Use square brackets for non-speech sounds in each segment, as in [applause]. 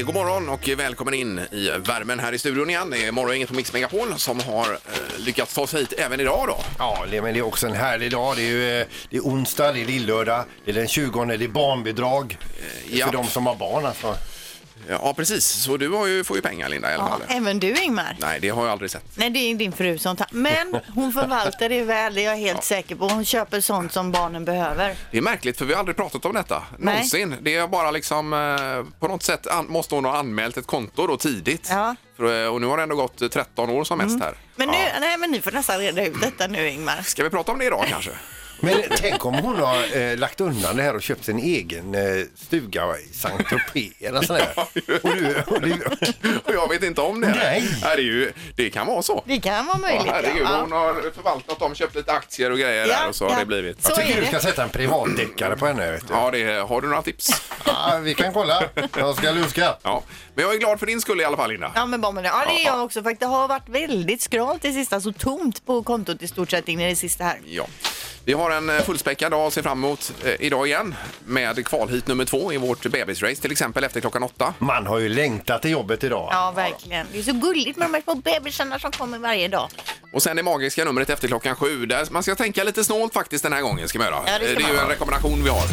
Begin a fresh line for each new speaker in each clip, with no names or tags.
Eh, morgon och välkommen in i värmen här i studion igen. Det är morgonen på Mix Megapol som har eh, lyckats ta sig hit även idag då.
Ja, det- men det är också en härlig dag. Det är, ju, eh, det är onsdag, det är lillördag, det är den 20, det är barnbidrag
Eh, ja.
för de som har barn alltså.
Ja, precis. Så du har ju, får ju pengar Linda i alla
Ja,
fall.
även du Ingmar.
Nej, det har jag aldrig sett.
Nej, det är din fru som tar. Men hon förvaltar det väl, det är jag helt säker på. Hon köper sånt som barnen behöver.
Det är märkligt för vi har aldrig pratat om detta.
Nej.
Någonsin. Det är bara liksom eh, på något sätt an- måste hon ha anmält ett konto då tidigt.
Ja. Mm.
För, eh, och nu har det ändå gått eh, 13 år som mest här.
Men nu,
Ja.
nej, men ni får nästan reda ut detta nu Ingmar.
Ska vi prata om det idag kanske? [laughs]
Men tänk om hon har eh, lagt undan det här och köpt sin egen eh, stuga i Saint Tropez
[laughs]
eller sådär. [laughs] Och du, och du,
och jag vet inte om det.
Nej.
Här är ju, det kan vara så.
Det kan vara
Ja,
möjligt.
herregud, hon har förvaltat dem, köpt lite aktier och grejer
Ja,
där och så har
ja.
det blivit.
Så
jag
är
tycker du
det.
ska sätta en privatdeckare på henne. Vet du.
Ja, det, har du några tips?
Ja, vi kan kolla. Jag ska luska.
Ja. Men jag är glad för din skull i alla fall, Linda.
Ja, men bara med det. Ja, det är
Ja,
jag också. Faktiskt. Det har varit väldigt skralt i sista, så tomt på kontot i stort sett in i det sista här.
Ja. Vi har en eh, fullspäckad dag att se fram emot eh, idag igen med kvalhit nummer två i vårt bebisrace till exempel efter klockan åtta.
Man har ju längtat till jobbet idag.
Ja, verkligen. Det är så gulligt med de här små bebisarna som kommer varje dag.
Och sen det magiska numret efter klockan sju. Där man ska tänka lite snålt faktiskt den här gången ska man göra.
Ja, det
Eh,
ska
är
man.
ju en rekommendation vi har.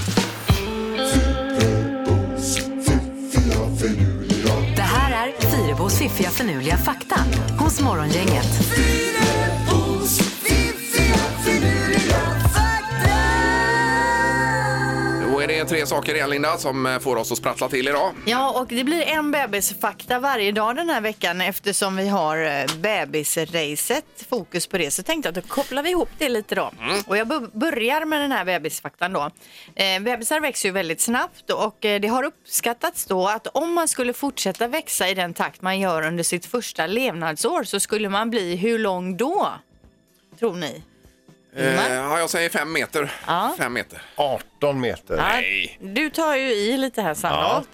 Det här är Fyrabos fiffiga förnuliga fakta hos Morgongänget.
Då är det tre saker igen, Linda, som eh, får oss att sprattla till idag.
Ja, och det blir en bebisfakta varje dag den här veckan eftersom vi har eh, bebisracet, fokus på det. Så tänkte jag att då kopplar vi ihop det lite då. Och jag bu- börjar med den här bebisfaktan då. Eh, bebisar växer ju väldigt snabbt och eh, det har uppskattats då att om man skulle fortsätta växa i den takt man gör under sitt första levnadsår så skulle man bli hur lång då? Tror ni?
Eh, ja, jag säger fem meter.
Mm. Ja.
Fem meter.
18 meter.
Nej.
Du tar ju i lite här Sandholt.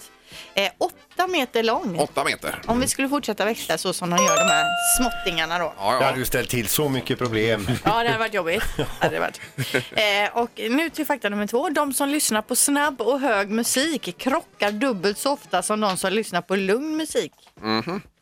Eh, åtta meter lång.
Åtta meter.
Om vi skulle fortsätta växa så som de gör de här småttingarna då.
Ja,
Det
ja.
hade ju ställt till så mycket problem.
Ja, det hade varit jobbigt. Hade det varit. Eh, och nu till fakta nummer två. De som lyssnar på snabb och hög musik krockar dubbelt så ofta som de som lyssnar på lugn musik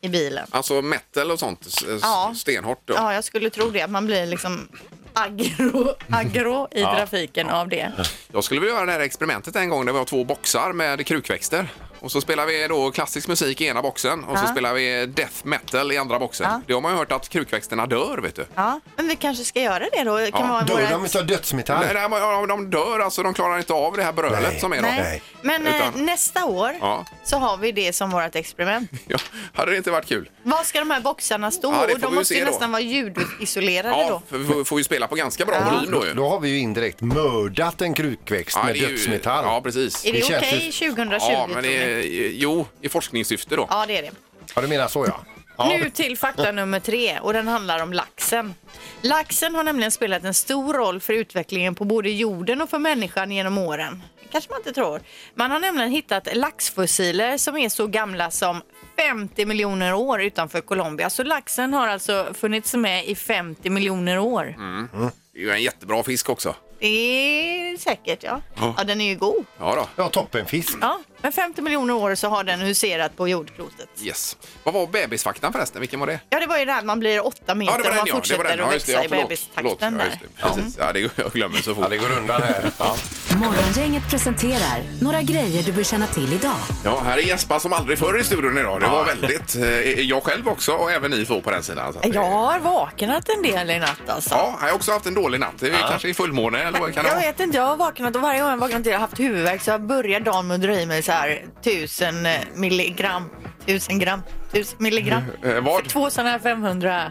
i bilen.
Alltså metal och sånt, s- s-
Ja.
stenhårt då.
Ja, jag skulle tro det. Att man blir liksom aggro, aggro i trafiken av det.
Jag skulle vilja göra det här experimentet en gång där vi har två boxar med krukväxter. Och så spelar vi då klassisk musik i ena boxen och så
Ja.
spelar vi death metal i andra boxen.
Ja.
Det har man ju hört att krukväxterna dör, vet du.
Ja, men vi kanske ska göra det då. Det
[laughs]
Kan
Ja,
vara
Dör
våra-
de utav dödsmetall?
Nej, nej, men, ja, de dör alltså, de klarar inte av det här brölet
Nej.
som är
Nej.
då.
Nej.
Men eh,
Utan-
nästa år
Ja.
så har vi det som vårt experiment.
Ja, hade det inte varit kul?
Var ska de här boxarna stå?
Ja, det får
och de
vi
måste
se
ju
då.
nästan vara ljudisolerade
Ja,
då.
för vi får- får ju spela på ganska bra
Ja.
volym då ju.
Då har vi ju indirekt mördat en krukväxt
Ja,
med
det är ju-
dödsmetall.
Ja, precis.
Är det,
det känns
okej
ju-
2020?
Ja, men
tror ni?
det, jo, i forskningssyfte då.
ja, det är det.
Ja, du menar så ja. ja.
Nu till fakta nummer tre och den handlar om laxen. Laxen har nämligen spelat en stor roll för utvecklingen på både jorden och för människan genom åren. Det kanske man inte tror. Man har nämligen hittat laxfossiler som är så gamla som 50 miljoner år utanför Colombia. Så laxen har alltså funnits med i 50 miljoner år.
Mm. Det är ju en jättebra fisk också.
Det är säkert, ja.
Ja.
ja. den är ju god.
Ja då.
Ja, toppenfisk.
Ja, men 50 miljoner år så har den huserat på jordklotet.
Yes. Vad var bebisfaktan förresten? Vilken var det?
Ja, det var ju det här man blir åtta meter om man fortsätter att
just det.
växa i eh,
förlåt. Förlåt.
bebistakten.
Ja,
där.
just det. Precis. Ja, det går, jag glömmer så fort.
Ja, det går undan här. Ja.
Morgongänget presenterar några grejer du bör känna till idag.
Ja, här är Jespa som aldrig förr i studion idag. Det var väldigt... eh, Jag själv också och även ni två på den sidan. Så att det-
Jag har vaknat en del i natt alltså.
Ja, jag har också haft en dålig natt. Det är kanske i fullmåne eller vad kan det
Jag
vara?
vet inte, jag har vaknat och varje gång jag vaknat till jag har haft huvudvärk så jag börjar dagen med att dra i mig så här tusen eh, milligram, tusen gram, tusen milligram.
Eh, vad?
Två sådana här 500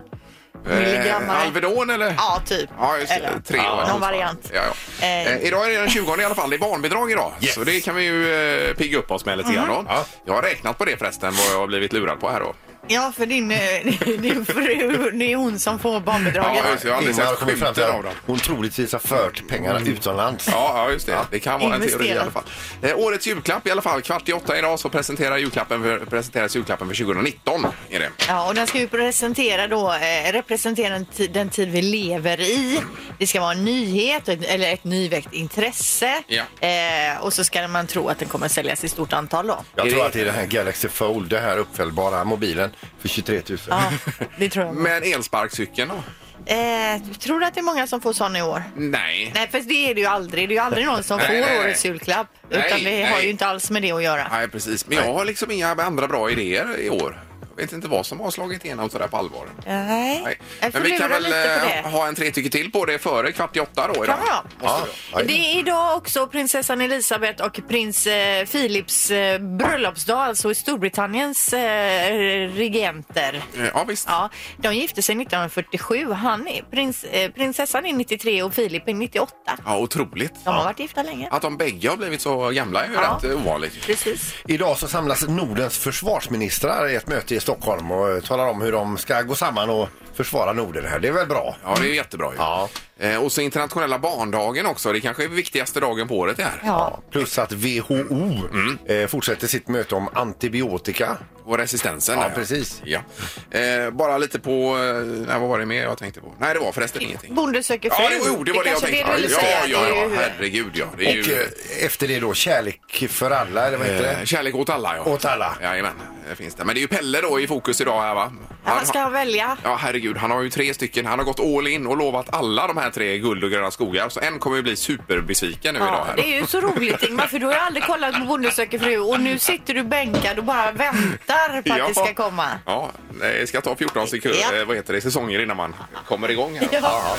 milligram.
Eh, Alvedon eller?
Ja, typ.
Ja, just det.
Eller-
Tre
Ja,
år.
Någon variant.
Ja, ja.
Eh,
Eh, idag är det den 20 i alla fall. Det är barnbidrag idag.
Yes.
Så
Mm-hmm.
det kan vi ju eh, pigga upp oss med lite grann. då.
Ja.
Jag har räknat på det förresten, vad jag har blivit lurad på här då.
Ja, för din, eh, [laughs] din fru, det är hon som får barnbidraget.
Ja, just det. Jag har aldrig
Ingmar har
sett
kommit fram till
skymten av
att
dem. Mm.
hon troligtvis har fört pengarna utomlands.
Ja, ja, just det. Det kan vara en teori i
Investera.
alla fall. Eh, årets julklapp i alla fall. Kvart i åtta idag så presenterar julklappen för, presenteras julklappen för 2019. Är det.
Ja, och den ska ju presentera då, eh, representera den, ti- den tid vi lever i. Det ska vara en nyhet och ett, eller ett nyväckt intresse.
Ja.
Eh, och så ska man tro att den kommer att säljas i stort antal då.
Jag
Är
tror
det-
att det är den här Galaxy Fold, den här uppfällbara mobilen för 23 000.
Ja, det tror jag.
Men elsparkcykeln då?
Eh, tror du att det är många som får sån i år?
Nej.
Nej, för det är det ju aldrig. Det är ju aldrig någon som
Nej,
får
nej, nej.
årets julklapp.
Nej,
utan det har
nej.
ju inte alls med det att göra.
[laughs] Nej, precis. Men jag har liksom inga andra bra idéer i år. Jag vet inte vad som har slagit igenom sådär på allvar.
Nej.
Nej.
Jag
Men vi kan
förlurar
väl
lite på
eh,
det.
ha en tre tycker till på det före kvart i åtta då idag.
Kan man ha.
Ja, ja.
Det är idag också prinsessan Elisabeth och prins eh, Philips eh, bröllopsdag, alltså i Storbritanniens eh, regenter.
Eh, Ja, visst.
Ja, de gifte sig 1947. Han är prins, eh, prinsessan är 93 och Philip är 98.
Ja, otroligt.
De har varit gifta länge.
Att de bägge har blivit så gamla är ju
Ja.
rätt eh, ovanligt.
Precis.
Idag så samlas Nordens försvarsministrar i ett möte i Stockholm och eh, talar om hur de ska gå samman och försvara Norden här. Det är väl bra?
Ja, det är ju jättebra ju.
Ja.
Eh, Och så internationella barndagen också. Det kanske är viktigaste dagen på året det här.
Ja.
Plus att WHO
Mm.
eh, fortsätter sitt möte om antibiotika.
Och resistensen.
Ja,
där,
precis.
Ja. Eh, bara lite på... eh, Nej, vad var det mer jag tänkte på? Nej, det var förresten ingenting.
Bonde söker fru.
Ja, det, jo, det var det, jag
kanske är
tänkte.
du ville
ja,
säga.
ja, ja,
Det är ju-
herregud ja. Det är
Och
ju...
eh, efter det då kärlek för alla, eller vad heter
Eh,
det?
kärlek åt alla, ja.
Åt alla.
Jajamän, det finns det. Men det är ju Pelle då i fokus idag här, va?
Ja, vad ska han välja?
Ja, herregud. Han har ju tre stycken. Han har gått all in och lovat alla de här tre guld och gröna skogar. Så en kommer ju bli superbesviken nu idag.
Ja,
Här.
det är ju så roligt Ingmar, för du har ju aldrig kollat på Bonde söker fru och nu sitter du bänkad och bara väntar på att det ska komma.
Ja, det ska ta 14 sekunder,
Ja.
eh, vad heter det, säsonger innan man kommer igång här.
Ja.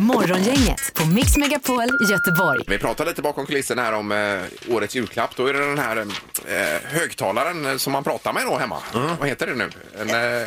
Morgongänget på Mix Megapol Göteborg.
Vi pratar lite bakom kulisserna här om eh, årets julklapp. Då är det den här eh, högtalaren eh, som man pratar med då hemma.
Mm.
Vad heter det nu? En, eh,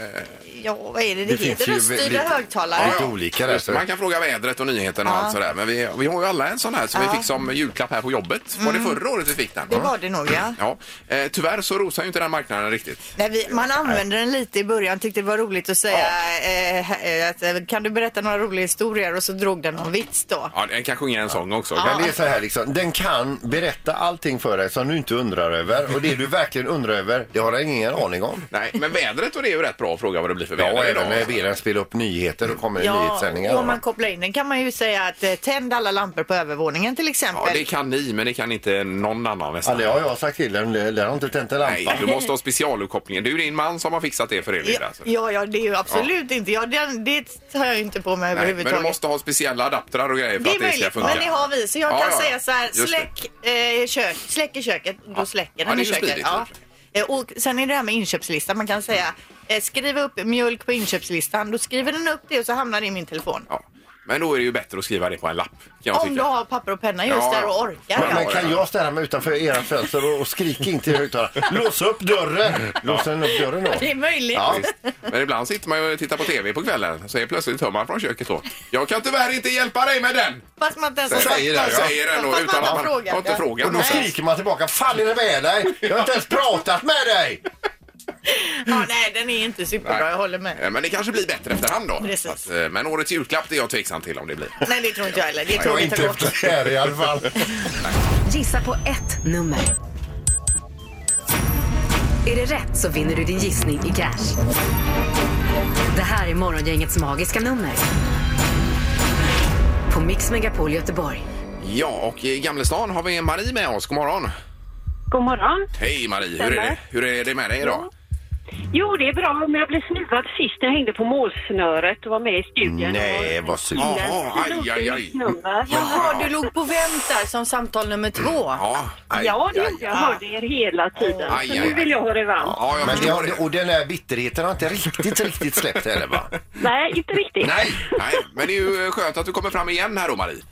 Ja, vad är det det, heter?
ju
Röststyrda
lite-
högtalare.
lite olika där.
Just,
Så.
det. man kan fråga vädret och nyheterna och allt sådär. Men vi, vi har ju alla en sån här som vi fick som julklapp här på jobbet. Var det förra året vi fick den?
Mm. Det var det nog ja.
Ja. Eh, tyvärr så rosar ju inte den marknaden riktigt.
Nej, vi, man använde den lite i början, tyckte det var roligt att säga eh, eh, att, eh, kan du berätta några roliga historier och så drog den någon vits då.
Ja, den kanske sjunger en sång också.
Men det är så här liksom, den kan berätta allting för dig som du inte undrar över och det du verkligen undrar över, det har den ingen aning om.
Nej, men vädret och det är ju rätt bra att fråga vad det blir för väder
Ja, även
idag.
när Beren spelar upp nyheter och kommer det nyhetssändningar.
och
då.
om man kopplar in den kan man ju säga att eh, tänd alla lampor på övervåningen till exempel.
Ja, det kan ni, men det kan inte någon annan nästan.
Ja, det har jag sagt till den, den har inte tänt en
Nej,
lampa.
du måste ha specialuppkopplingen. Det är ju din man som har fixat det för er Linda.
Ja, ja, ja, det är ju absolut inte. Ja, den, det tar jag inte på mig
Nej, men
överhuvudtaget.
du måste ha speciella adaptrar och grejer för
Det
att det
är
ska
möjligt,
funka.
men det har vi. Så jag
Ja,
kan
ja, ja.
säga så här,
Just det.
släck, eh, kök, släck i köket, då släcker
Ja,
den
det
i
är ju
köket.
smidigt i och
ja.
för sig.
Eh, Och sen är det här med inköpslista, man kan säga eh, skriv upp mjölk på inköpslistan, då skriver den upp det och så hamnar det i min telefon.
Ja. Men då är det ju bättre att skriva det på en lapp. Kan jag
Om
tycka.
du har papper och penna just
Ja,
där
ja.
och orkar.
Men, men
Ja.
kan jag ställa mig utanför era fönster och, och skrika in till högtalaren? Lås upp dörren! Låser den upp dörren då?
Det är möjligt.
Ja.
Visst. Men ibland sitter man ju och tittar på TV på kvällen så är plötsligt hör man från köket då. Jag kan tyvärr inte hjälpa dig med den!
Fast man inte ens har
Säger
sagt
det,
den,
något.
ja.
säger den då, utan
Fast man inte
att
har
man
frågat,
har inte
ja.
frågat
Och då
något.
skriker man tillbaka, fan är det med dig? Jag har inte ens pratat med dig!
Ja, nej, den är inte superbra,
Nej.
jag håller med.
Eh, Men det kanske blir bättre efterhand då.
Precis.
Att, eh, men årets julklapp det är jag tveksam till om det blir.
Nej, det tror inte jag heller. Det är
Jag har
tråkigt
inte
och gott.
öppnat här i alla fall.
Gissa på ett nummer. Är det rätt så vinner du din gissning i cash. Det här är Morgongängets magiska nummer. På Mix Megapol Göteborg.
Ja, och i Gamlestan har vi Marie med oss. God morgon!
God morgon.
Hej Marie! Hur är det, hur är det med dig idag?
Jo, det är bra, men jag blev snuvad sist när jag hängde på målsnöret och var med i studion.
Nej, vad synd.
Och-
Jaha, aj, aj, aj.
Nummer.
Jaha, du låg på vänt där som samtal nummer två.
Ja,
Aj,
Ja, det
aj,
gjorde jag. Jag hörde er hela tiden.
Aj,
Så
aj,
nu
aj.
vill jag ha revansch.
ja jag
Men det
förstår det.
har, och den här bitterheten har inte riktigt, riktigt släppt heller va?
Nej, inte riktigt.
Nej!
Nej, men det är ju skönt att du kommer fram igen här då Marie.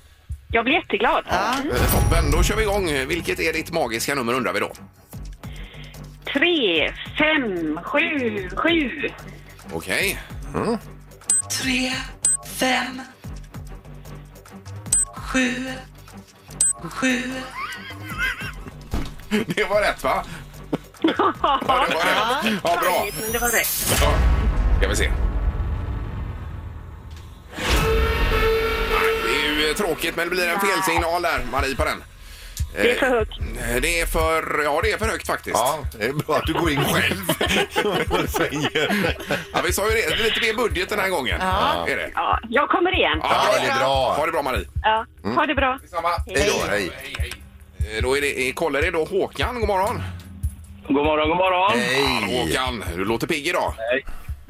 Jag blir jätteglad.
Eh, Toppen, då kör vi igång. Vilket är ditt magiska nummer undrar vi då?
Tre, fem, sju, sju.
Okej. [laughs]
tre, fem, sju, sju.
Det var rätt va?
Ja,
det var rätt. Ja, bra.
men det var rätt.
Ja, ska vi se. Nej, Det är ju eh, tråkigt men det blir en felsignal där, Marie, på den.
Det är
Eh.
för högt.
Det är för, ja det är för högt faktiskt. Ja.
Ja, det är bra att du går in själv. och säger.
vi sa ju det, det är lite mer budget den här gången. Ja. Är det.
Ja, jag kommer igen.
Ja, det är bra.
Ha det bra Marie.
Ja.
Mm.
Ha det bra.
Detsamma.
Hej då, hej.
Eh, Då är det, kollar det då Håkan, god morgon.
God morgon, god morgon.
Hallå,
[laughs] Hej!
Håkan, du låter pigg idag.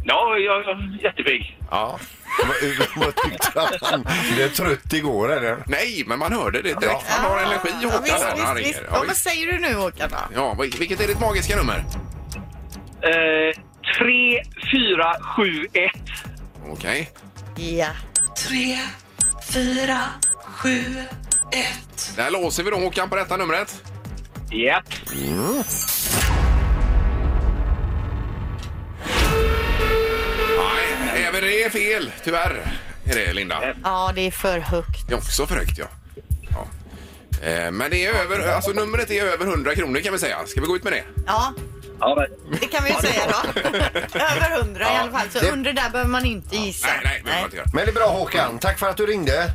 Ja, jag är jättepigg.
Ja.
Vad- Vad tyckte han? Du är trött igår eller?
Nej, men man hörde det direkt. Han har energi
Ja,
Håkan.
visst,
här när han
visst, visst.
ringer.
Ja,
Ja,
vad
visst.
säger du nu Håkan? då?
Ja, vil- vilket är ditt magiska nummer?
Eh, 3, 4, 7, 1.
Okej.
Ja.
tre, fyra, sju, ett.
Där låser vi då Håkan på detta numret.
Japp.
Nej, även det är fel. Tyvärr är det Linda.
ja, det är för högt.
Det är också för högt ja. ja. Eh, Men det är över, alltså numret är över 100 kronor kan vi säga. Ska vi gå ut med det?
Ja,
Ja, men
det kan vi ju säga då. [laughs] Över hundra i alla fall. Så under där behöver man inte gissa.
Nej, nej, det behöver man inte göra.
Men det är bra Håkan, tack för att du ringde.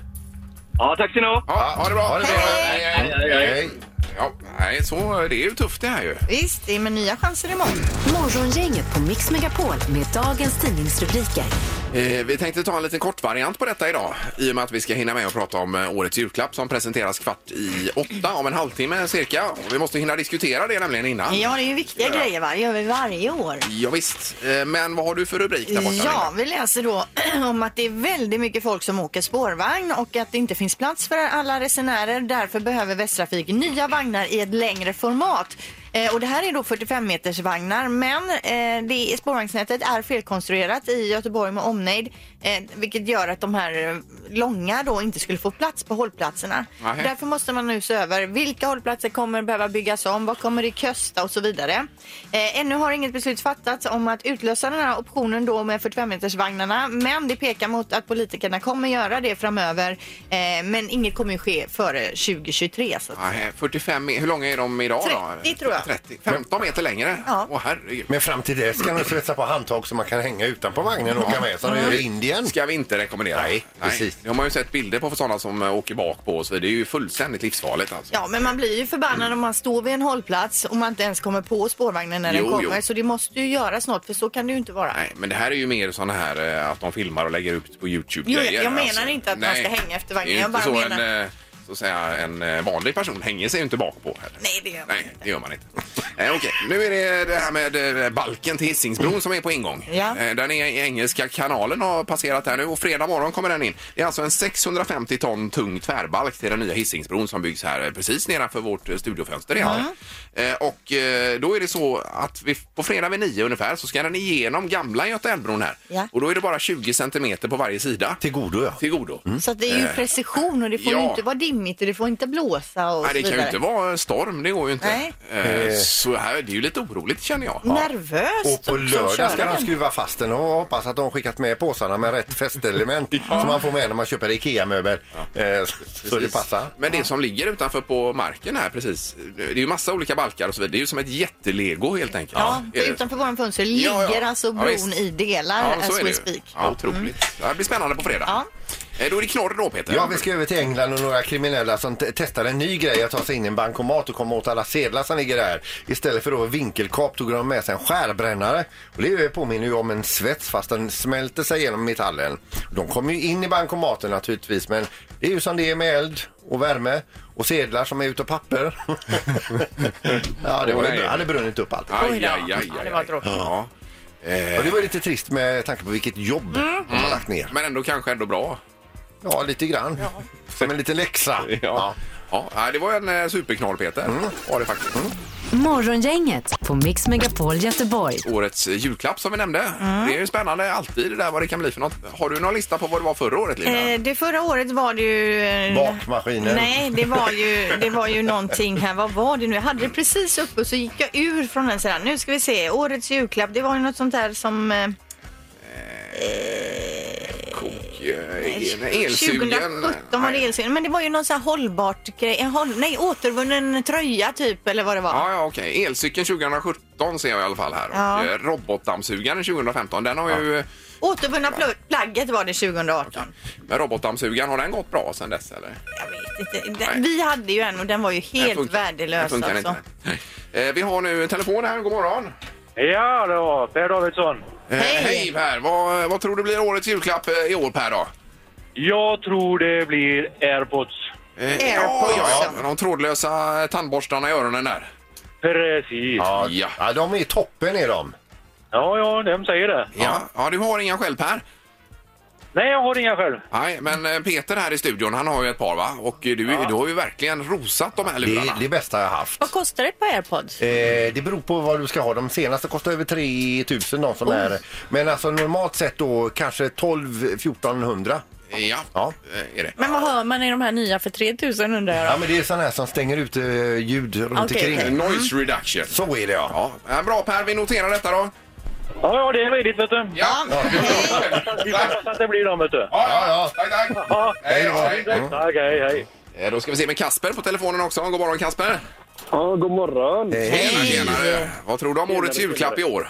Ja, tack ska ni ha.
Ja, ha det bra.
Ha det bra.
Hej, hej, hej.
Hej.
Ja, nej, så, det är ju tufft det här ju.
Visst, det är med nya chanser imorgon.
Morgongänget på Mix Megapol med dagens tidningsrubriker.
Eh, Vi tänkte ta en liten kortvariant på detta idag i och med att vi ska hinna med att prata om eh, årets julklapp som presenteras kvart i åtta om en halvtimme cirka. Och vi måste hinna diskutera det nämligen innan.
Ja, det är ju viktiga grejer va? Det gör vi varje år.
Ja, visst. Eh, Men vad har du för rubrik där borta?
Ja,
Linda?
vi läser då [clears throat] om att det är väldigt mycket folk som åker spårvagn och att det inte finns plats för alla resenärer. Därför behöver Västtrafik nya vagnar i ett längre format. Eh, och det här är då 45 meters vagnar men eh, det, spårvagnsnätet är felkonstruerat i Göteborg med omnejd eh, vilket gör att de här eh, långa då inte skulle få plats på hållplatserna.
Nej.
Därför Därför måste man nu se över vilka hållplatser kommer behöva byggas om, vad kommer det kosta och så vidare. Eh, ännu har inget beslut fattats om att utlösa den här optionen då med 45-metersvagnarna men det pekar mot att politikerna kommer göra det framöver eh, men inget kommer ju ske före 2023. Så att,
Nej, 45 me- Hur långa är de idag då?
30 tror jag.
30, 15 meter längre?
Ja.
Åh, herregud.
Men fram till dess kan du svetsa på handtag så man kan hänga utanpå vagnen och åka med som du gör i Indien.
ska vi inte rekommendera.
Nej, precis.
Det har man ju sett bilder på för sådana som eh, åker bak på och så vidare. Det är ju fullständigt livsfarligt alltså.
Ja, men man blir ju förbannad om man står vid en hållplats och man inte ens kommer på spårvagnen när den
Jo,
kommer.
jo.
Så det måste ju göras något för så kan det ju inte vara.
Nej, men det här är ju mer såna här eh, att de filmar och lägger ut på Youtube.
Jo, jag- jag menar inte att man ska hänga efter vagnen.
Det är ju
Jag
inte
bara
så
menar-
en, eh, så att säga, en eh, vanlig person hänger sig ju inte bak på heller.
Nej, det gör man
Nej,
inte.
det gör man inte. Eh, Okej, nu är det det här med eh, balken till Hisingsbron som är på ingång.
Ja.
Eh, Den är i Engelska kanalen har passerat här nu och fredag morgon kommer den in. Det är alltså en 650 ton tung tvärbalk till den nya Hisingsbron som byggs här eh, precis nedanför vårt eh, studiofönster. Mm. Och eh, då är det så att vi, på fredag vid nio ungefär så ska den igenom gamla Göta älvbron här.
Ja.
Och då är det bara 20 centimeter på varje sida.
Till godo Mm. ja.
Till godo.
Så att det är ju precision och det får ju
Eh. ja.
inte vara dimmigt och det får inte blåsa och
Nej, det
så
kan ju
vidare.
inte vara storm, det går ju inte.
Nej.
Eh, Så här, det är ju lite oroligt känner jag.
Nervöst
Och på
också att
lördag ska
köra
de
den.
skruva fast den och hoppas att de skickat med påsarna med rätt fästelement som man får med när man köper IKEA-möbel. Eh, så- Så det
Precis.
passar.
Men det som ligger utanför på marken här precis, det är ju massa olika balkar och så vidare. Det är ju som ett jättelego helt enkelt.
Ja,
Är det.
utanför våran fönster
Ja, ja.
ligger alltså
Ja,
bron
visst.
i delar
Ja,
as
så är det
we
ju.
speak. Mm.
Ja, otroligt. Det här blir spännande på fredag.
Ja.
Eh, Då är det knorr då Peter.
Ja, vi ska över till England och några kriminella som te- testar en ny grej att ta sig in i en bankomat och komma åt alla sedlar som ligger där. Istället för då vinkelkap tog de med sig en skärbrännare. Och det är ju- påminner ju om en svets fast den smälter sig genom metallen. De kommer ju in i bankomaten naturligtvis men det är ju som det är med eld och värme och sedlar som är
[laughs]
utav papper. ja, det var
Åh,
ju,
nej.
hade brunnit upp allt.
Aj,
Oj
aj,
då.
aj, aj,
Ja, det var tråkigt.
Ja.
Och det var ju lite trist med tanke på vilket jobb
Mm.
de har lagt ner.
Men ändå kanske ändå bra.
Ja, lite grann. Som en liten läxa.
Ja. Ja. ja, det var en eh, superknorr Peter.
Mm.
Var det faktiskt.
Morgongänget på Mix Megapol Göteborg.
Årets eh, julklapp som vi nämnde.
Mm.
Det är ju spännande alltid det där vad det kan bli för något. Har du någon lista på vad det var förra året Linda?
Eh, det förra året var det ju... eh,
Bakmaskinen.
Nej, det var, ju, det var ju någonting här. Vad var det nu? Jag hade det precis uppe och så gick jag ur från den sådär. Nu ska vi se. Årets julklapp. Det var ju något sånt där som... Eh,
Kok, eh, el- elsugen.
2017 var det elsugen. Men det var ju någon sån här hållbart grej. En håll, nej, återvunnen tröja typ eller vad det var.
Ja, ja, okej. Elcykeln 2017 2017 ser jag i alla fall här.
Ja.
Och, eh, robotdammsugaren 2015, den har ju... eh,
Återvunna pl- plagget var det 2018.
Men robotdammsugaren, har den gått bra sen dess eller?
Jag vet inte. Den, vi hade ju en och den var ju
Den
helt
funkar- den
värdelös.
funkar
alltså.
inte. Nej. Eh, Vi har nu en telefon här, god morgon.
Ja då, Per Davidsson.
Eh,
Hej.
Hej Per! Vad, vad tror du blir årets julklapp eh, i år Per då?
Jag tror det blir airpods.
Eh,
Airpods,
ja, ja, ja.
ja.
De trådlösa tandborstarna i öronen där.
Precis. Ja,
Ja,
Ja.
ja. de är toppen är de.
ja, de säger det.
Ja, ja du har inga själv Per?
Nej, jag har inga själv.
Nej, men eh, Peter här i studion, han har ju ett par va? Och eh, du, du har ju verkligen rosat de här
Det
lurarna.
är det bästa jag haft.
Vad kostar ett par airpods?
Eh, det beror på vad du ska ha. De senaste kostar över 3000 de som är. Men alltså normalt sett då kanske 12 1400.
Ja,
Ja.
eh, är det.
Men vad hör man i de här nya för 3000 undrar jag
Ja
då?
men det är sådana här som stänger ut eh, ljud runt
Okej,
omkring.
Eh, Noise reduction.
Så är det ja.
Ja, eh, bra Per, vi noterar detta då.
Ja, ja, det är ledigt vet du.
Ja,
Vi får hoppas att det blir dem vet du.
ja,
ja.
Tack, tack.
Ja.
Hej då. Hej.
Tack, hej, hej.
Eh, Då ska vi se med Kasper på telefonen också. God morgon Kasper.
Ja, god morgon.
Eh,
Hej. Tjenare. Vad tror du om årets
Tjenare,
julklapp i år?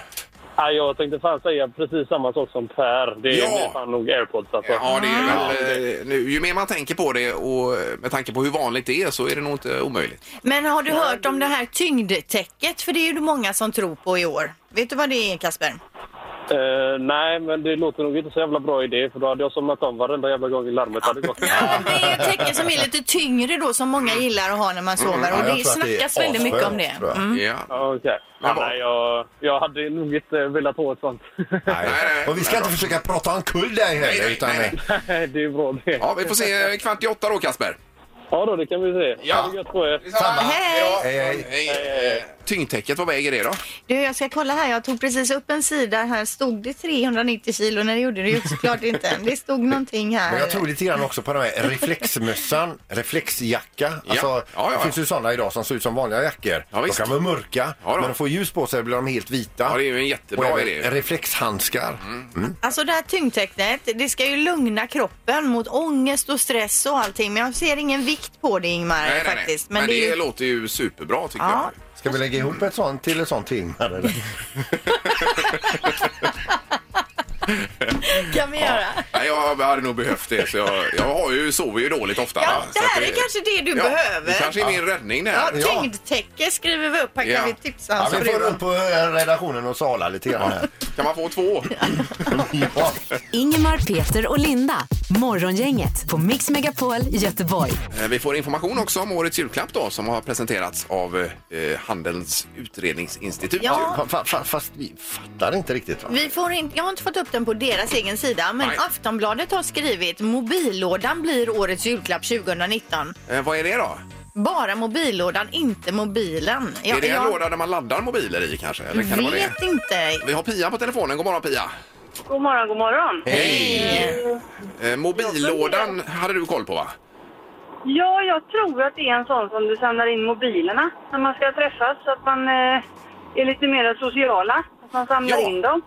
Ja, jag tänkte fan säga precis samma sak som Per. Det är
Ja.
fan nog airpods alltså.
Ja, det är väl, eh, nu, ju mer man tänker på det och eh, med tanke på hur vanligt det är så är det nog inte omöjligt.
Men har du hört om det här tyngdtäcket? För det är ju många som tror på i år. Vet du vad det är Kasper?
Eh, nej, men det låter nog inte så jävla bra idé för då hade jag somnat om varenda jävla gång larmet hade gått.
Ja, det är ju ett täcke som är lite tyngre då som många gillar att ha när man sover och
Mm. Ja, jag
det
tror att är
snackas väldigt mycket om det.
asskönt, tror
Mm.
jag.
Ja.
Ja, Okej.
Men
Ja,
vad-
nej, jag, jag hade nog inte velat ha ett sånt. [laughs]
Nej.
Nej, nej,
Och vi ska
nej,
inte
bra.
försöka prata omkull dig
Nej,
heller.
nej,
Utan,
nej,
Nej, det är bra det.
Ja, vi får se eh, kvart i åtta då Kasper.
Ja då, det kan vi se.
Ja.
Ha det gött på er.
Samma.
Hej!
Hej, hej.
Hej. Eh, Tyngdtäcket, vad väger det då?
Du, jag ska kolla här. Jag tog precis upp en sida. Här stod det 390 kilo. när det gjorde det ju såklart inte. Det stod någonting här.
Men jag tror lite grann också på de
[laughs]
här reflexmössan, reflexjacka. Alltså,
Ja, ja, ja.
Det finns ju sådana idag som ser ut som vanliga jackor.
Ja,
de
visst.
kan vara mörka,
Ja, då.
men de får ljus på sig blir de helt vita.
Ja, det är ju Mm. en jättebra
Och även
idé.
Reflexhandskar.
Alltså det här tyngdtecknet, det ska ju lugna kroppen mot ångest och stress och allting. Men jag ser ingen vikt på det Ingmar faktiskt.
Men,
är
det,
ju-
låter ju superbra tycker
Ja.
jag.
Ska vi lägga ihop ett sånt till ett sånt ting? [laughs] här, eller?
Alltså,
kan vi göra.
Nej, jag hade nog behövt det. Så jag, jag har ju, sover ju dåligt ofta.
Ja,
va?
det
Så att
här är kanske det du
ja,
behöver.
Det kanske är min räddning det
Ja,
här.
Ja.
tyngdtäcke skriver vi upp. Här kan
Ja.
vi tipsa
Ja,
hans
vi får
fru om.
upp på eh, redaktionen och sala lite grann här.
Kan man få två?
Ja.
Ingemar, Peter och Linda. Morgongänget på Mix Megapol Göteborg.
Eh, Vi får information också om årets julklapp då som har presenterats av eh, Handelns utredningsinstitut.
Ja.
Fa- fa- Fast vi fattar inte riktigt va?
Vi får inte, jag har inte fått upp den på deras egen sida, men
Nej.
Aftonbladet har skrivit mobillådan blir årets julklapp 2019.
Eh, Vad är det då?
Bara mobillådan, inte mobilen.
är det en låda där man laddar mobiler i kanske? Eller kan det
Jag
vara det?
vet inte.
Vi har Pia på telefonen. God morgon Pia!
God morgon, god morgon.
Eh, Mobillådan hade du koll på va?
Ja, jag tror att det är en sån som du samlar in mobilerna när man ska träffas så att man eh, är lite mer sociala. Att man samlar
Ja.
in dem.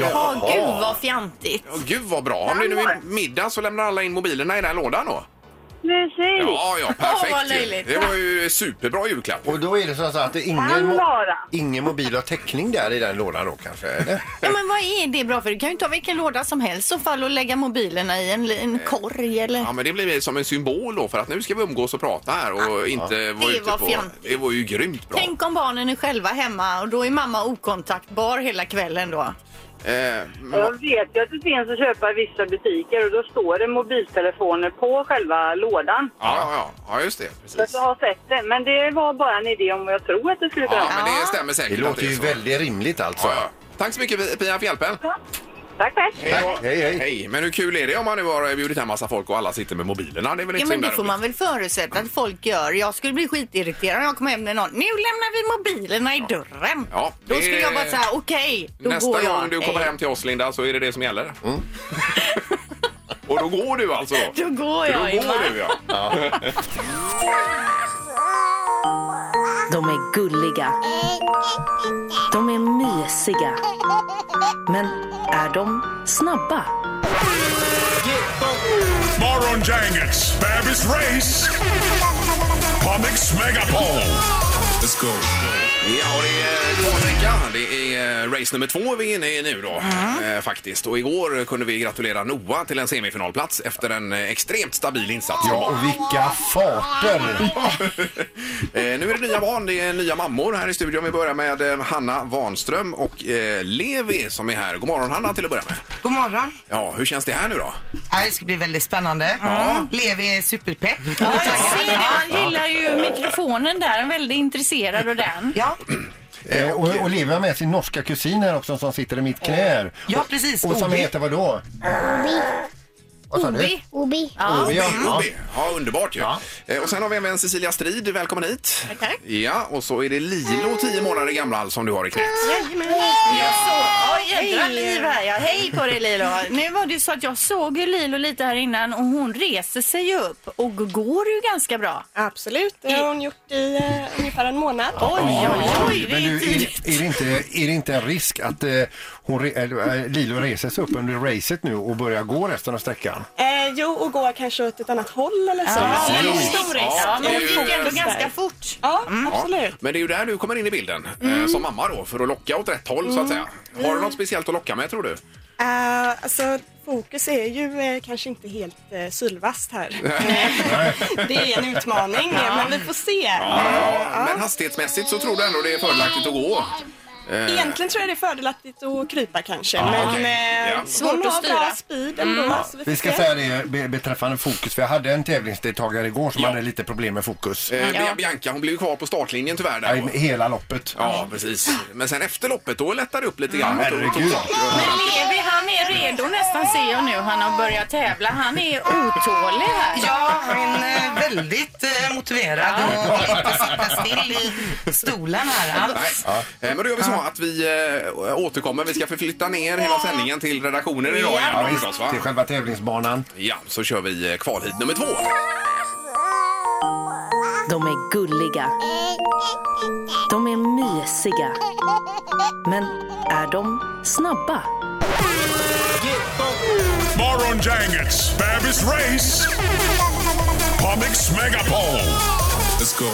Ja, gud vad fjantigt.
Ja, gud vad bra! Om det nu är middag så lämnar alla in mobilerna i den här lådan då?
Precis.
Ja,
[laughs]
ja, perfekt
vad
ju.
löjligt.
Det var ju superbra julklapp.
Och då är det så att det är ingen,
Kan
mo-
vara.
ingen mobil har täckning där i den lådan då kanske?
[laughs]
Eller?
Ja, men vad är det bra för? Du kan ju ta vilken låda som helst och fall och lägga mobilerna i en, li- en korg eller...
Eh, Ja, men det blir som en symbol då för att nu ska vi umgås och prata här
Ah,
och inte vara
Det
ute
var
på...
fjantigt.
Det var ju grymt bra.
Tänk om barnen är själva hemma och då är mamma okontaktbar hela kvällen då.
Eh, men vad-
Jag vet ju att det finns att köpa i vissa butiker och då står det mobiltelefoner på själva lådan.
ja, ja, ja, just det.
Så
Precis.
att jag har sett det. Men det var bara en idé om vad jag tror att det skulle
Ja,
vara.
men det stämmer säkert.
Det
att
låter
är
ju
så.
väldigt rimligt alltså.
Ja, ja. Tack så mycket Pia för hjälpen.
Tack.
Tack, tack.
Hej, hej.
Hej, men hur kul är det om man nu har bjudit hem massa folk och alla sitter med mobilerna? Det är väl inte
Ja,
så
men
himla
det får
roligt?
man väl förutsätta att folk gör. Jag skulle bli skitirriterad om jag kom hem med någon. Nu lämnar vi mobilerna i dörren.
Ja,
då
det-
skulle jag bara säga okej, då går
Nästa
jag.
gång du kommer
Hej.
hem till oss Linda så är det det som gäller.
Mm.
[laughs] och då går du alltså?
[laughs]
Då,
Då går
då
jag. Ingmar.
går du ja.
De är gulliga. De är mysiga. Men är de snabba?
Morgongänget, Babys race på Mix Megapol. Let's go.
Ja, och det är Kvarnrika. Det är eh, race nummer två vi är inne i nu då eh, faktiskt. Och igår kunde vi gratulera Noah till en semifinalplats efter en eh, extremt stabil insats.
Ja, och vilka farter!
[laughs]
Eh, nu är det nya barn, det är nya mammor här i studion. Vi börjar med eh, Hanna Wanström och eh, Levi som är här. God morgon Hanna till att börja med.
God morgon.
Ja, hur känns det här nu då?
Ja, Det ska bli väldigt spännande. Levi är superpepp.
Ser ni? Han gillar ju mikrofonen där, Han är väldigt intresserad av den.
Ja.
Eh, och, och Liv har med sin norska kusin här också som sitter i mitt knä. här.
Ja, precis,
Och, och som
Obi.
heter vad då? Vad sa du?
Obi.
Obi, Mm. ja. ja, underbart ju. Eh, och sen har vi även Cecilia Strid, välkommen hit. Ja, och så är det Lilo, 10 månader gammal, som du har i knät.
Jajamän. Jag såg... Oj, jädra liv här ja. Hej på dig Lilo. Nu var det ju så att jag såg ju Lilo lite här innan och hon reser sig ju upp och går ju ganska bra.
Absolut, det har hon gjort i eh, ungefär en månad.
Oj, oj, oj.
Men du, är, är, det inte, är det inte en risk att eh, hon, re- eller, eh, Lilo reser sig upp under racet nu och börjar gå resten av sträckan?
Eh, jo, och går kanske åt ett annat håll eller så.
Ja,
Så det är
precis.
stor risk.
Ja, men hon gick ändå
Fokus där.
ganska
fort.
Ja,
Mm.
absolut.
Ja, men det är ju där du kommer in i bilden eh, som mamma då för att locka åt rätt håll så att
Mm.
säga. Har du något speciellt att locka med tror du?
Eh, alltså, fokus är ju eh, kanske inte helt eh, sylvast här. [laughs] det är en utmaning, eh, men vi får se.
Men hastighetsmässigt så tror du ändå det är fördelaktigt att gå? Eh,
Egentligen tror jag det är fördelaktigt att krypa kanske,
Ja,
men
okej.
eh,
Ja.
svårt hon har bra speed ändå. så vi får
Vi ska
se.
säga det be- beträffande fokus, för jag hade en tävlingsdeltagare igår som hade lite problem med fokus.
eh, Bia- Bianca hon blev ju kvar på startlinjen tyvärr där.
Nej, Hela loppet.
Ja, precis. Men sen efter loppet då lättade det upp lite grann.
Mm, herregud.
Men Levi han är redo nästan ser jag nu. Han har börjat tävla. Han är otålig här.
Ja, han är väldigt eh, motiverad och inte sitta still i stolen här
Nej.
alls.
Eh, Men då gör vi så att vi eh, återkommer. Vi ska förflytta ner hela sändningen till redaktionen idag igen. då förstås, va?
Till själva tävlingsbanan.
Ja, så kör vi eh, kval hit nummer två.
De är gulliga. De är mysiga. Men är de snabba?
Morgongänget, Babys race. Pomix Megapol. Let's go.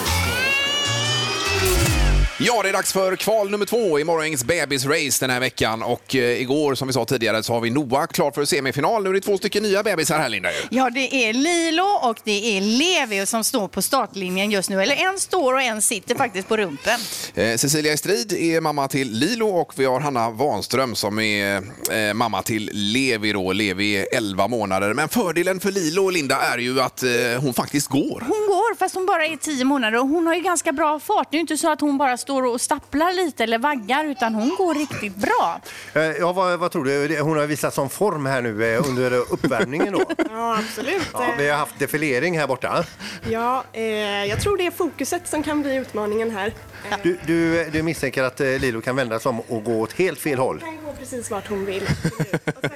Ja, det är dags för kval nummer två i morgons bebisrace den här veckan. Och eh, igår, som vi sa tidigare, så har vi Noah klar för semifinal. Nu är det två stycken nya bebisar här, Linda. ju.
Ja, det är Lilo och det är Levi som står på startlinjen just nu. Eller en står och en sitter faktiskt på rumpen.
Eh, Cecilia Strid är mamma till Lilo och vi har Hanna Wanström som är eh, mamma till Levi. Då. Levi är 11 månader. Men fördelen för Lilo, Linda, är ju att eh, hon faktiskt går.
Hon går fast hon bara är tio månader och hon har ju ganska bra fart. Det är ju inte så att hon bara står och stapplar lite eller vaggar utan hon går riktigt bra.
Eh, Ja, vad, vad tror du? Det- Hon har visat sån form här nu eh, under uppvärmningen då.
[laughs] Ja, absolut.
Ja, vi har haft defilering här borta.
Ja, eh, jag tror det är fokuset som kan bli utmaningen här. Eh,
Du, du, du misstänker att eh, Lilo kan vända sig om och gå åt helt fel håll?
Hon kan gå precis vart hon vill. Och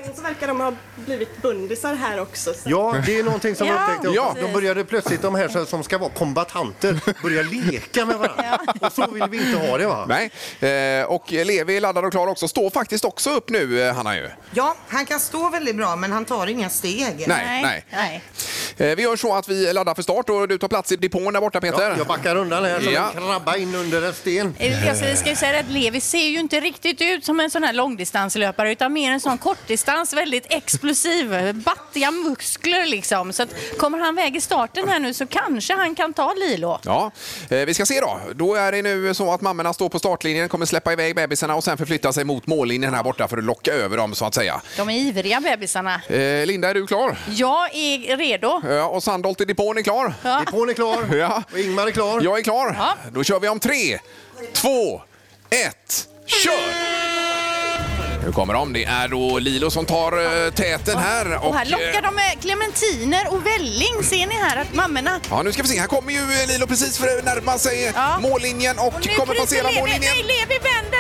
sen så verkar de ha blivit bundisar här också. Så.
Ja, det är någonting som jag
Ja,
upptäckte också.
Ja.
De började plötsligt, de här som- som ska vara kombatanter, börja leka med varandra. Och så vill vi inte ha det va?
Nej, eh, och Levi är laddad och klar också. Står faktiskt också upp nu, eh, Hanna. Ju.
Ja, han kan stå väldigt bra men han tar inga steg.
Nej, nej. Eh, Vi gör så att vi laddar för start och du tar plats i depån där borta Peter.
Ja, jag backar undan här som en krabba in under en sten.
Eh, Jag ska- ska ju säga att Levi ser ju inte riktigt ut som en sån här långdistanslöpare utan mer en sån kortdistans, väldigt explosiv, battiga muskler liksom. Så att kommer han väg i starten här nu så kanske han kan ta Lilo.
Ja, eh, vi ska se då. Då är det nu så att mammorna står på startlinjen, kommer släppa iväg bebisarna och sen förflytta sig mot mållinjen här borta för att locka över dem så att säga.
De är ivriga bebisarna.
Eh, Linda, är du klar?
Jag är redo.
Ja, och Sandholt i depån är klar.
Ja.
Depån är klar.
Ja.
Och Ingmar är klar.
Jag är klar. Då kör vi om tre, två, ett, kör! Nu kommer de. Det är då Lilo som tar eh, täten här.
Och här lockar
eh,
de med clementiner och välling. Ser ni här att mammorna...
Ja, nu ska vi se. Här kommer ju eh, Lilo precis för att närma sig eh, mållinjen och,
Nu
kommer
kryper
passera
Levi.
mållinjen.
Nej, Levi vänder!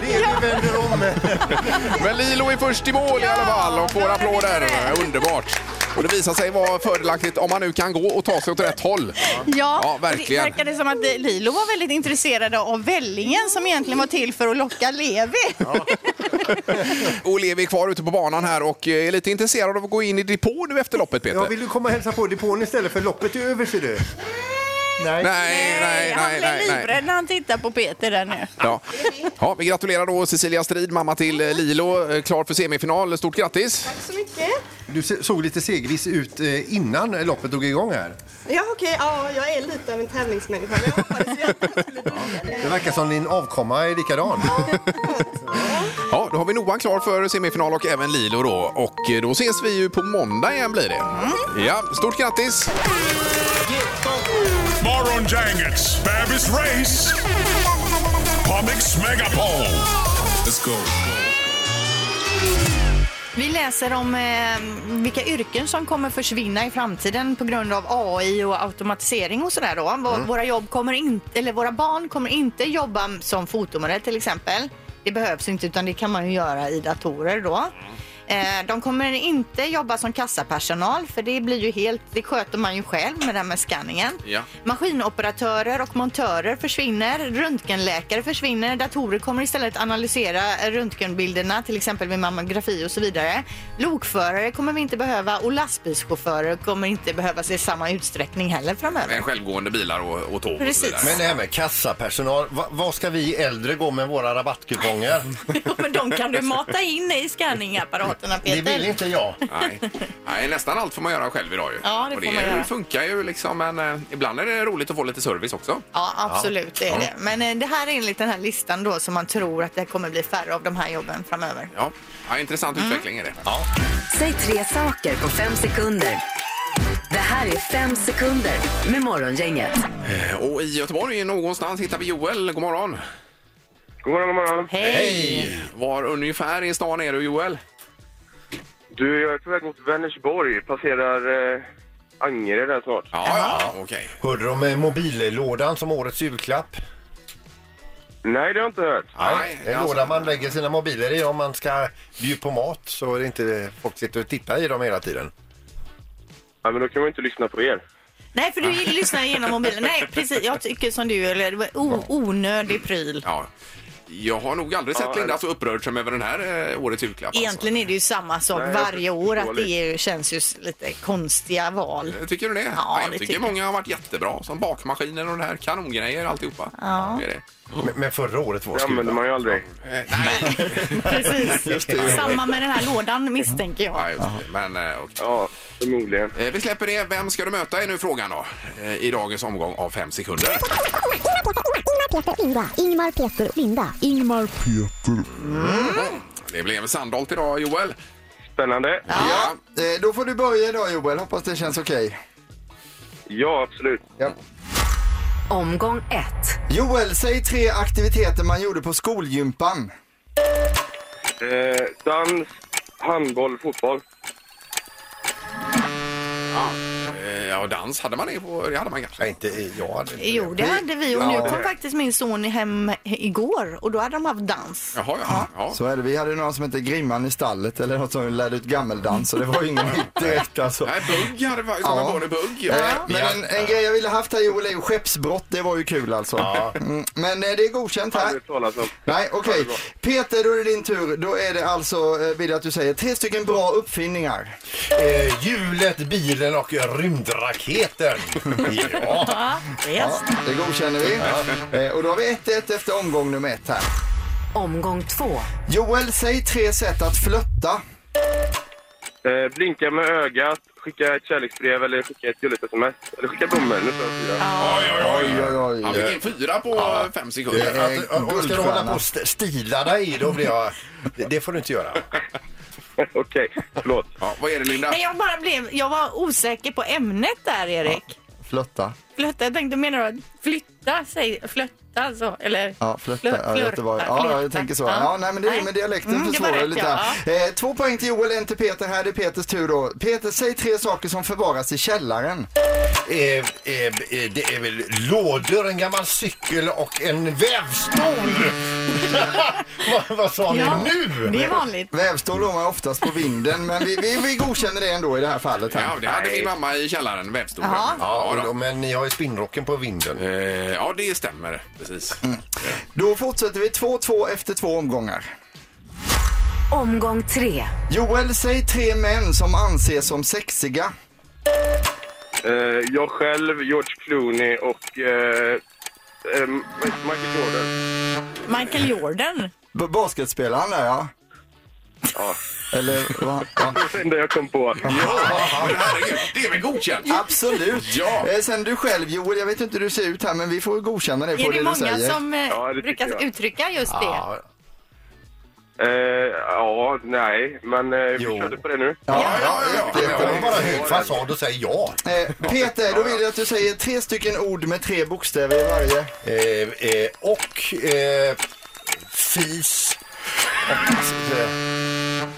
Levi vänder om.
Men Lilo är först i mål i alla fall och får applåder. Underbart. Och det visar sig vara fördelaktigt om man nu kan gå och ta sig åt rätt håll.
Ja,
ja verkligen.
det verkade som att eh, Lilo var väldigt intresserad av vällingen som egentligen var till för att locka Levi. [laughs]
Och Levi är kvar ute på banan här och eh, är lite intresserad av att gå in i depå nu efter loppet, Peter.
Ja, vill du komma och hälsa på depån istället för loppet är över ser du? Nej.
Nej, nej,
han
nej,
blir
nej, nej.
livrädd när han tittar på Peter där nu.
Ja. Ja, vi gratulerar då Cecilia Strid, mamma till eh, Lilo, eh, klar för semifinal. Stort grattis!
Tack så mycket.
Du se- såg lite segvis ut eh, innan loppet drog igång här.
Ja, okej. Ja, jag är lite av en tävlingsmänniska. Men jag hoppades ju att det skulle bli
Det verkar som din avkomma är likadan.
Ja, då har vi Noah klar för semifinal och även Lilo då. Och eh, då ses vi ju på måndag igen blir det.
Mm.
Ja, stort grattis!
Morgongänget, Babys race på Mix Megapol. Let's go.
Vi läser om eh, vilka yrken som kommer försvinna i framtiden på grund av AI och automatisering och sådär då. Vå-
Mm.
Våra, jobb kommer inte, eller våra barn kommer inte jobba som fotomodell till exempel. Det behövs inte utan det kan man ju göra i datorer då. Eh, De kommer inte jobba som kassapersonal för det blir ju helt, det sköter man ju själv med det här med skanningen.
Ja.
Maskinoperatörer och montörer försvinner, röntgenläkare försvinner, datorer kommer istället analysera röntgenbilderna till exempel vid mammografi och så vidare. Lokförare kommer vi inte behöva och lastbilschaufförer kommer inte behövas i samma utsträckning heller framöver. [laughs]
Med eh, självgående bilar och, och tåg och
Precis.
så vidare.
Men det här med kassapersonal, va- vad ska vi äldre gå med våra rabattkuponger?
Men de kan du mata in i scanningapparaterna Peter.
Det vill inte jag.
Nej. Nej, nästan allt får man göra själv idag ju.
Ja, det
och
får man göra.
funkar ju liksom, men eh, ibland är det roligt att få lite service också.
Ja, absolut. Det
Ja.
är det. Men eh, det här är enligt den här listan då som man tror att det kommer bli färre av de här jobben framöver.
Ja, ja intressant
Mm.
utveckling är det.
Säg tre saker på fem sekunder. Det här är fem sekunder med Morgongänget.
Eh, Och i Göteborg någonstans hittar vi Joel. God morgon!
God morgon, god morgon.
Hej! Var ungefär i stan är du Joel?
Du, jag är på väg mot Vänersborg. Passerar eh, Angered där snart.
Ja, ja, okej.
Hörde du om eh, mobillådan som årets julklapp?
Nej, det har jag inte hört.
Nej, en låda man lägger sina mobiler i om man ska bjuda på mat så är det inte folk sitter och tittar i dem hela tiden.
Ja, men då kan man ju inte lyssna på er.
Nej, för du lyssnar genom mobilen. Nej, precis. Jag tycker som du, eller det var o- onödig pryl.
Ja. Jag har nog aldrig sett Linda så upprörd som över den här eh, årets julklapp. Alltså.
Egentligen är det ju samma sak
Nej, jag
varje
förstår
år, att det
lite.
är, ju- känns ju s- lite
[laughs]
konstiga val.
Eh, Tycker du det?
Ja,
Nej, jag
det
tycker,
tycker
många har varit jättebra. Som bakmaskiner och det här. Kanongrejer alltihopa.
Ja.
Det är det.
Men, men förra året var
Det använder man ju aldrig.
Precis. Samma med den här lådan misstänker jag.
Ja, just det. Men, ja, förmodligen. Vi släpper det. Vem ska du möta är nu frågan då. eh, I dagens omgång av fem sekunder.
Peter, Ingvar, Ingmar, Peter, Linda. Ingmar, Peter.
Det blev Sandholt idag, Joel.
Spännande.
Ja. eh, Då får du börja idag Joel, hoppas det känns okej.
Ja, absolut.
Ja.
Omgång ett.
Joel, säg tre aktiviteter man gjorde på skolgympan.
Eh, dans, handboll, fotboll.
Ja, eh, ja dans hade man det på. Det hade man kanske.
inte jag hade
Jo, det hade vi och nu kom faktiskt min son hem igår och då hade de haft dans.
Jaha, ja.
Så är det. Vi hade någon som hette Grimman i stallet eller något som lärde ut gammeldans så det var ju ingen hit direkt alltså.
Nej, bugg hade varit. Som en barnebugg. Ja.
Eh, Men en, en grej jag ville haft här Joel är ju skeppsbrott, det var ju kul alltså. Mm, Men eh, det är godkänt här.
Aldrig hört talas om.
Nej, okej.
Ja, det är
Peter, då är det din tur. Då är det alltså, eh, vill jag att du säger, tre stycken bra uppfinningar.
Eh, hjulet, bilen och rymdraketen. ja.
Ja, det godkänner vi. Eh, Och då har vi 1-1 efter omgång nummer ett här.
Omgång två.
Joel, säg tre sätt att flötta.
Eh, blinka med ögat, skicka ett kärleksbrev eller skicka ett gulligt sms. Eller skicka blommor. Nu står jag fyra.
Oj, oj, oj.
Han fick in fyra på fem sekunder.
Eh, att- och- och Ska du hålla på och st- stila dig då blir jag... Det, det får du inte göra.
[laughs] Okej, förlåt.
Ja, vad är det Linda?
Nej, jag bara blev, jag var osäker på ämnet där Erik.
Flötta.
Flötta, jag tänkte menar du att flytta, säg flötta alltså, eller?
Ja, flötta.
Flö-
Ja, Göteborg.
flörta,
Ja, jag
flirta.
tänker så.
Ja.
Ja, nej, men det är
Nej.
med dialekten
Mm, det var
försvårar det
rätt,
lite.
ja.
här. Eh, två poäng till Joel, en till Peter. Här det är Peters tur då. Peter, säg tre saker som förvaras i källaren.
Eh, eh, eh, det är väl lådor, en gammal cykel och en vävstol. [laughs] vad, vad sa
Ja,
ni nu?
Vävstol har man oftast på vinden, men vi, vi, vi godkänner det ändå i det här fallet. Här.
Ja, det hade min mamma i källaren, vävstolen.
Jaha.
Ja,
då. Eh,
men ni har ju spinnrocken på vinden.
ja, det stämmer.
[laughs]
Precis.
Då fortsätter vi 2-2 efter två omgångar.
Omgång tre.
Joel, säg tre män som anses som sexiga.
Eh, jag själv, George Clooney och eh, eh, Michael Jordan.
Michael Jordan.
B- basketspelaren där ja.
Ja.
Eller
[laughs]
vad? Ja.
[laughs] Det var det enda jag kom på.
Det är väl godkänt?
Absolut.
Ja.
Eh, Sen du själv Joel, jag vet inte hur du ser ut här men vi får godkänna det på
Är det
det du säger.
många som eh,
Ja, det tycker
brukar
jag.
uttrycka just det?
Eh, ja, nej, men eh, vi körde på det nu.
har bara hög fasad och säger ja.
Eh, Peter, då vill jag att du säger tre stycken ord med tre bokstäver i varje.
Eh, eh, och eh, fis. Och, eh,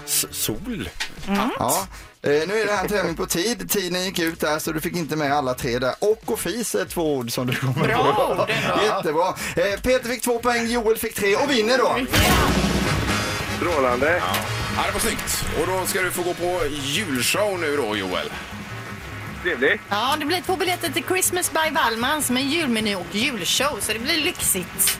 s- sol.
Ja. Eh, nu är det här en tävling på tid. Tiden gick ut där så du fick inte med alla tre där. Och och fis är två ord som du kommer
Bra
på. Jättebra. Eh, Peter fick två poäng, Joel fick tre och vinner då.
Strålande.
Ja, det var snyggt. Och då ska du få gå på julshow nu då, Joel.
Trevligt.
Ja, det blir två biljetter till Christmas by Wallmans med julmeny och julshow, så det blir lyxigt.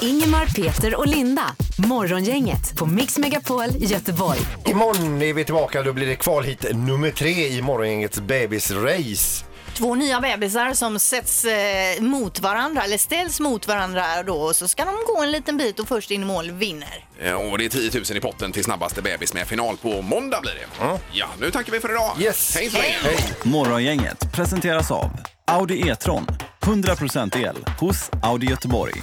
Ingemar, Peter och Linda. Morgongänget på Mix Megapol Göteborg.
Imorgon är vi tillbaka. Då blir det kvalhit nummer tre i morgongängets bebisrace.
Två nya bebisar som sätts eh, mot varandra, eller ställs mot varandra då, och så ska de gå en liten bit och först in i mål vinner.
Eh, Och det är 10 000 i potten till snabbaste bebis med final på måndag blir det. Ja, nu tackar vi för idag. Yes. Hej så länge.
Morgongänget presenteras av Audi E-tron. 100% el hos Audi Göteborg.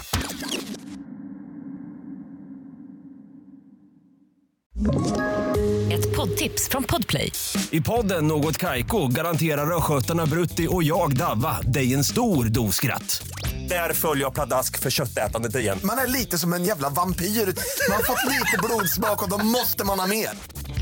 Ett poddtips från Podplay.
I podden Något Kaiko garanterar östgötarna Brutti och jag, Davva, dig en stor dos skratt. Där följer jag pladask för köttätandet igen.
Man är lite som en jävla vampyr. Man har fått lite blodsmak och då måste man ha mer.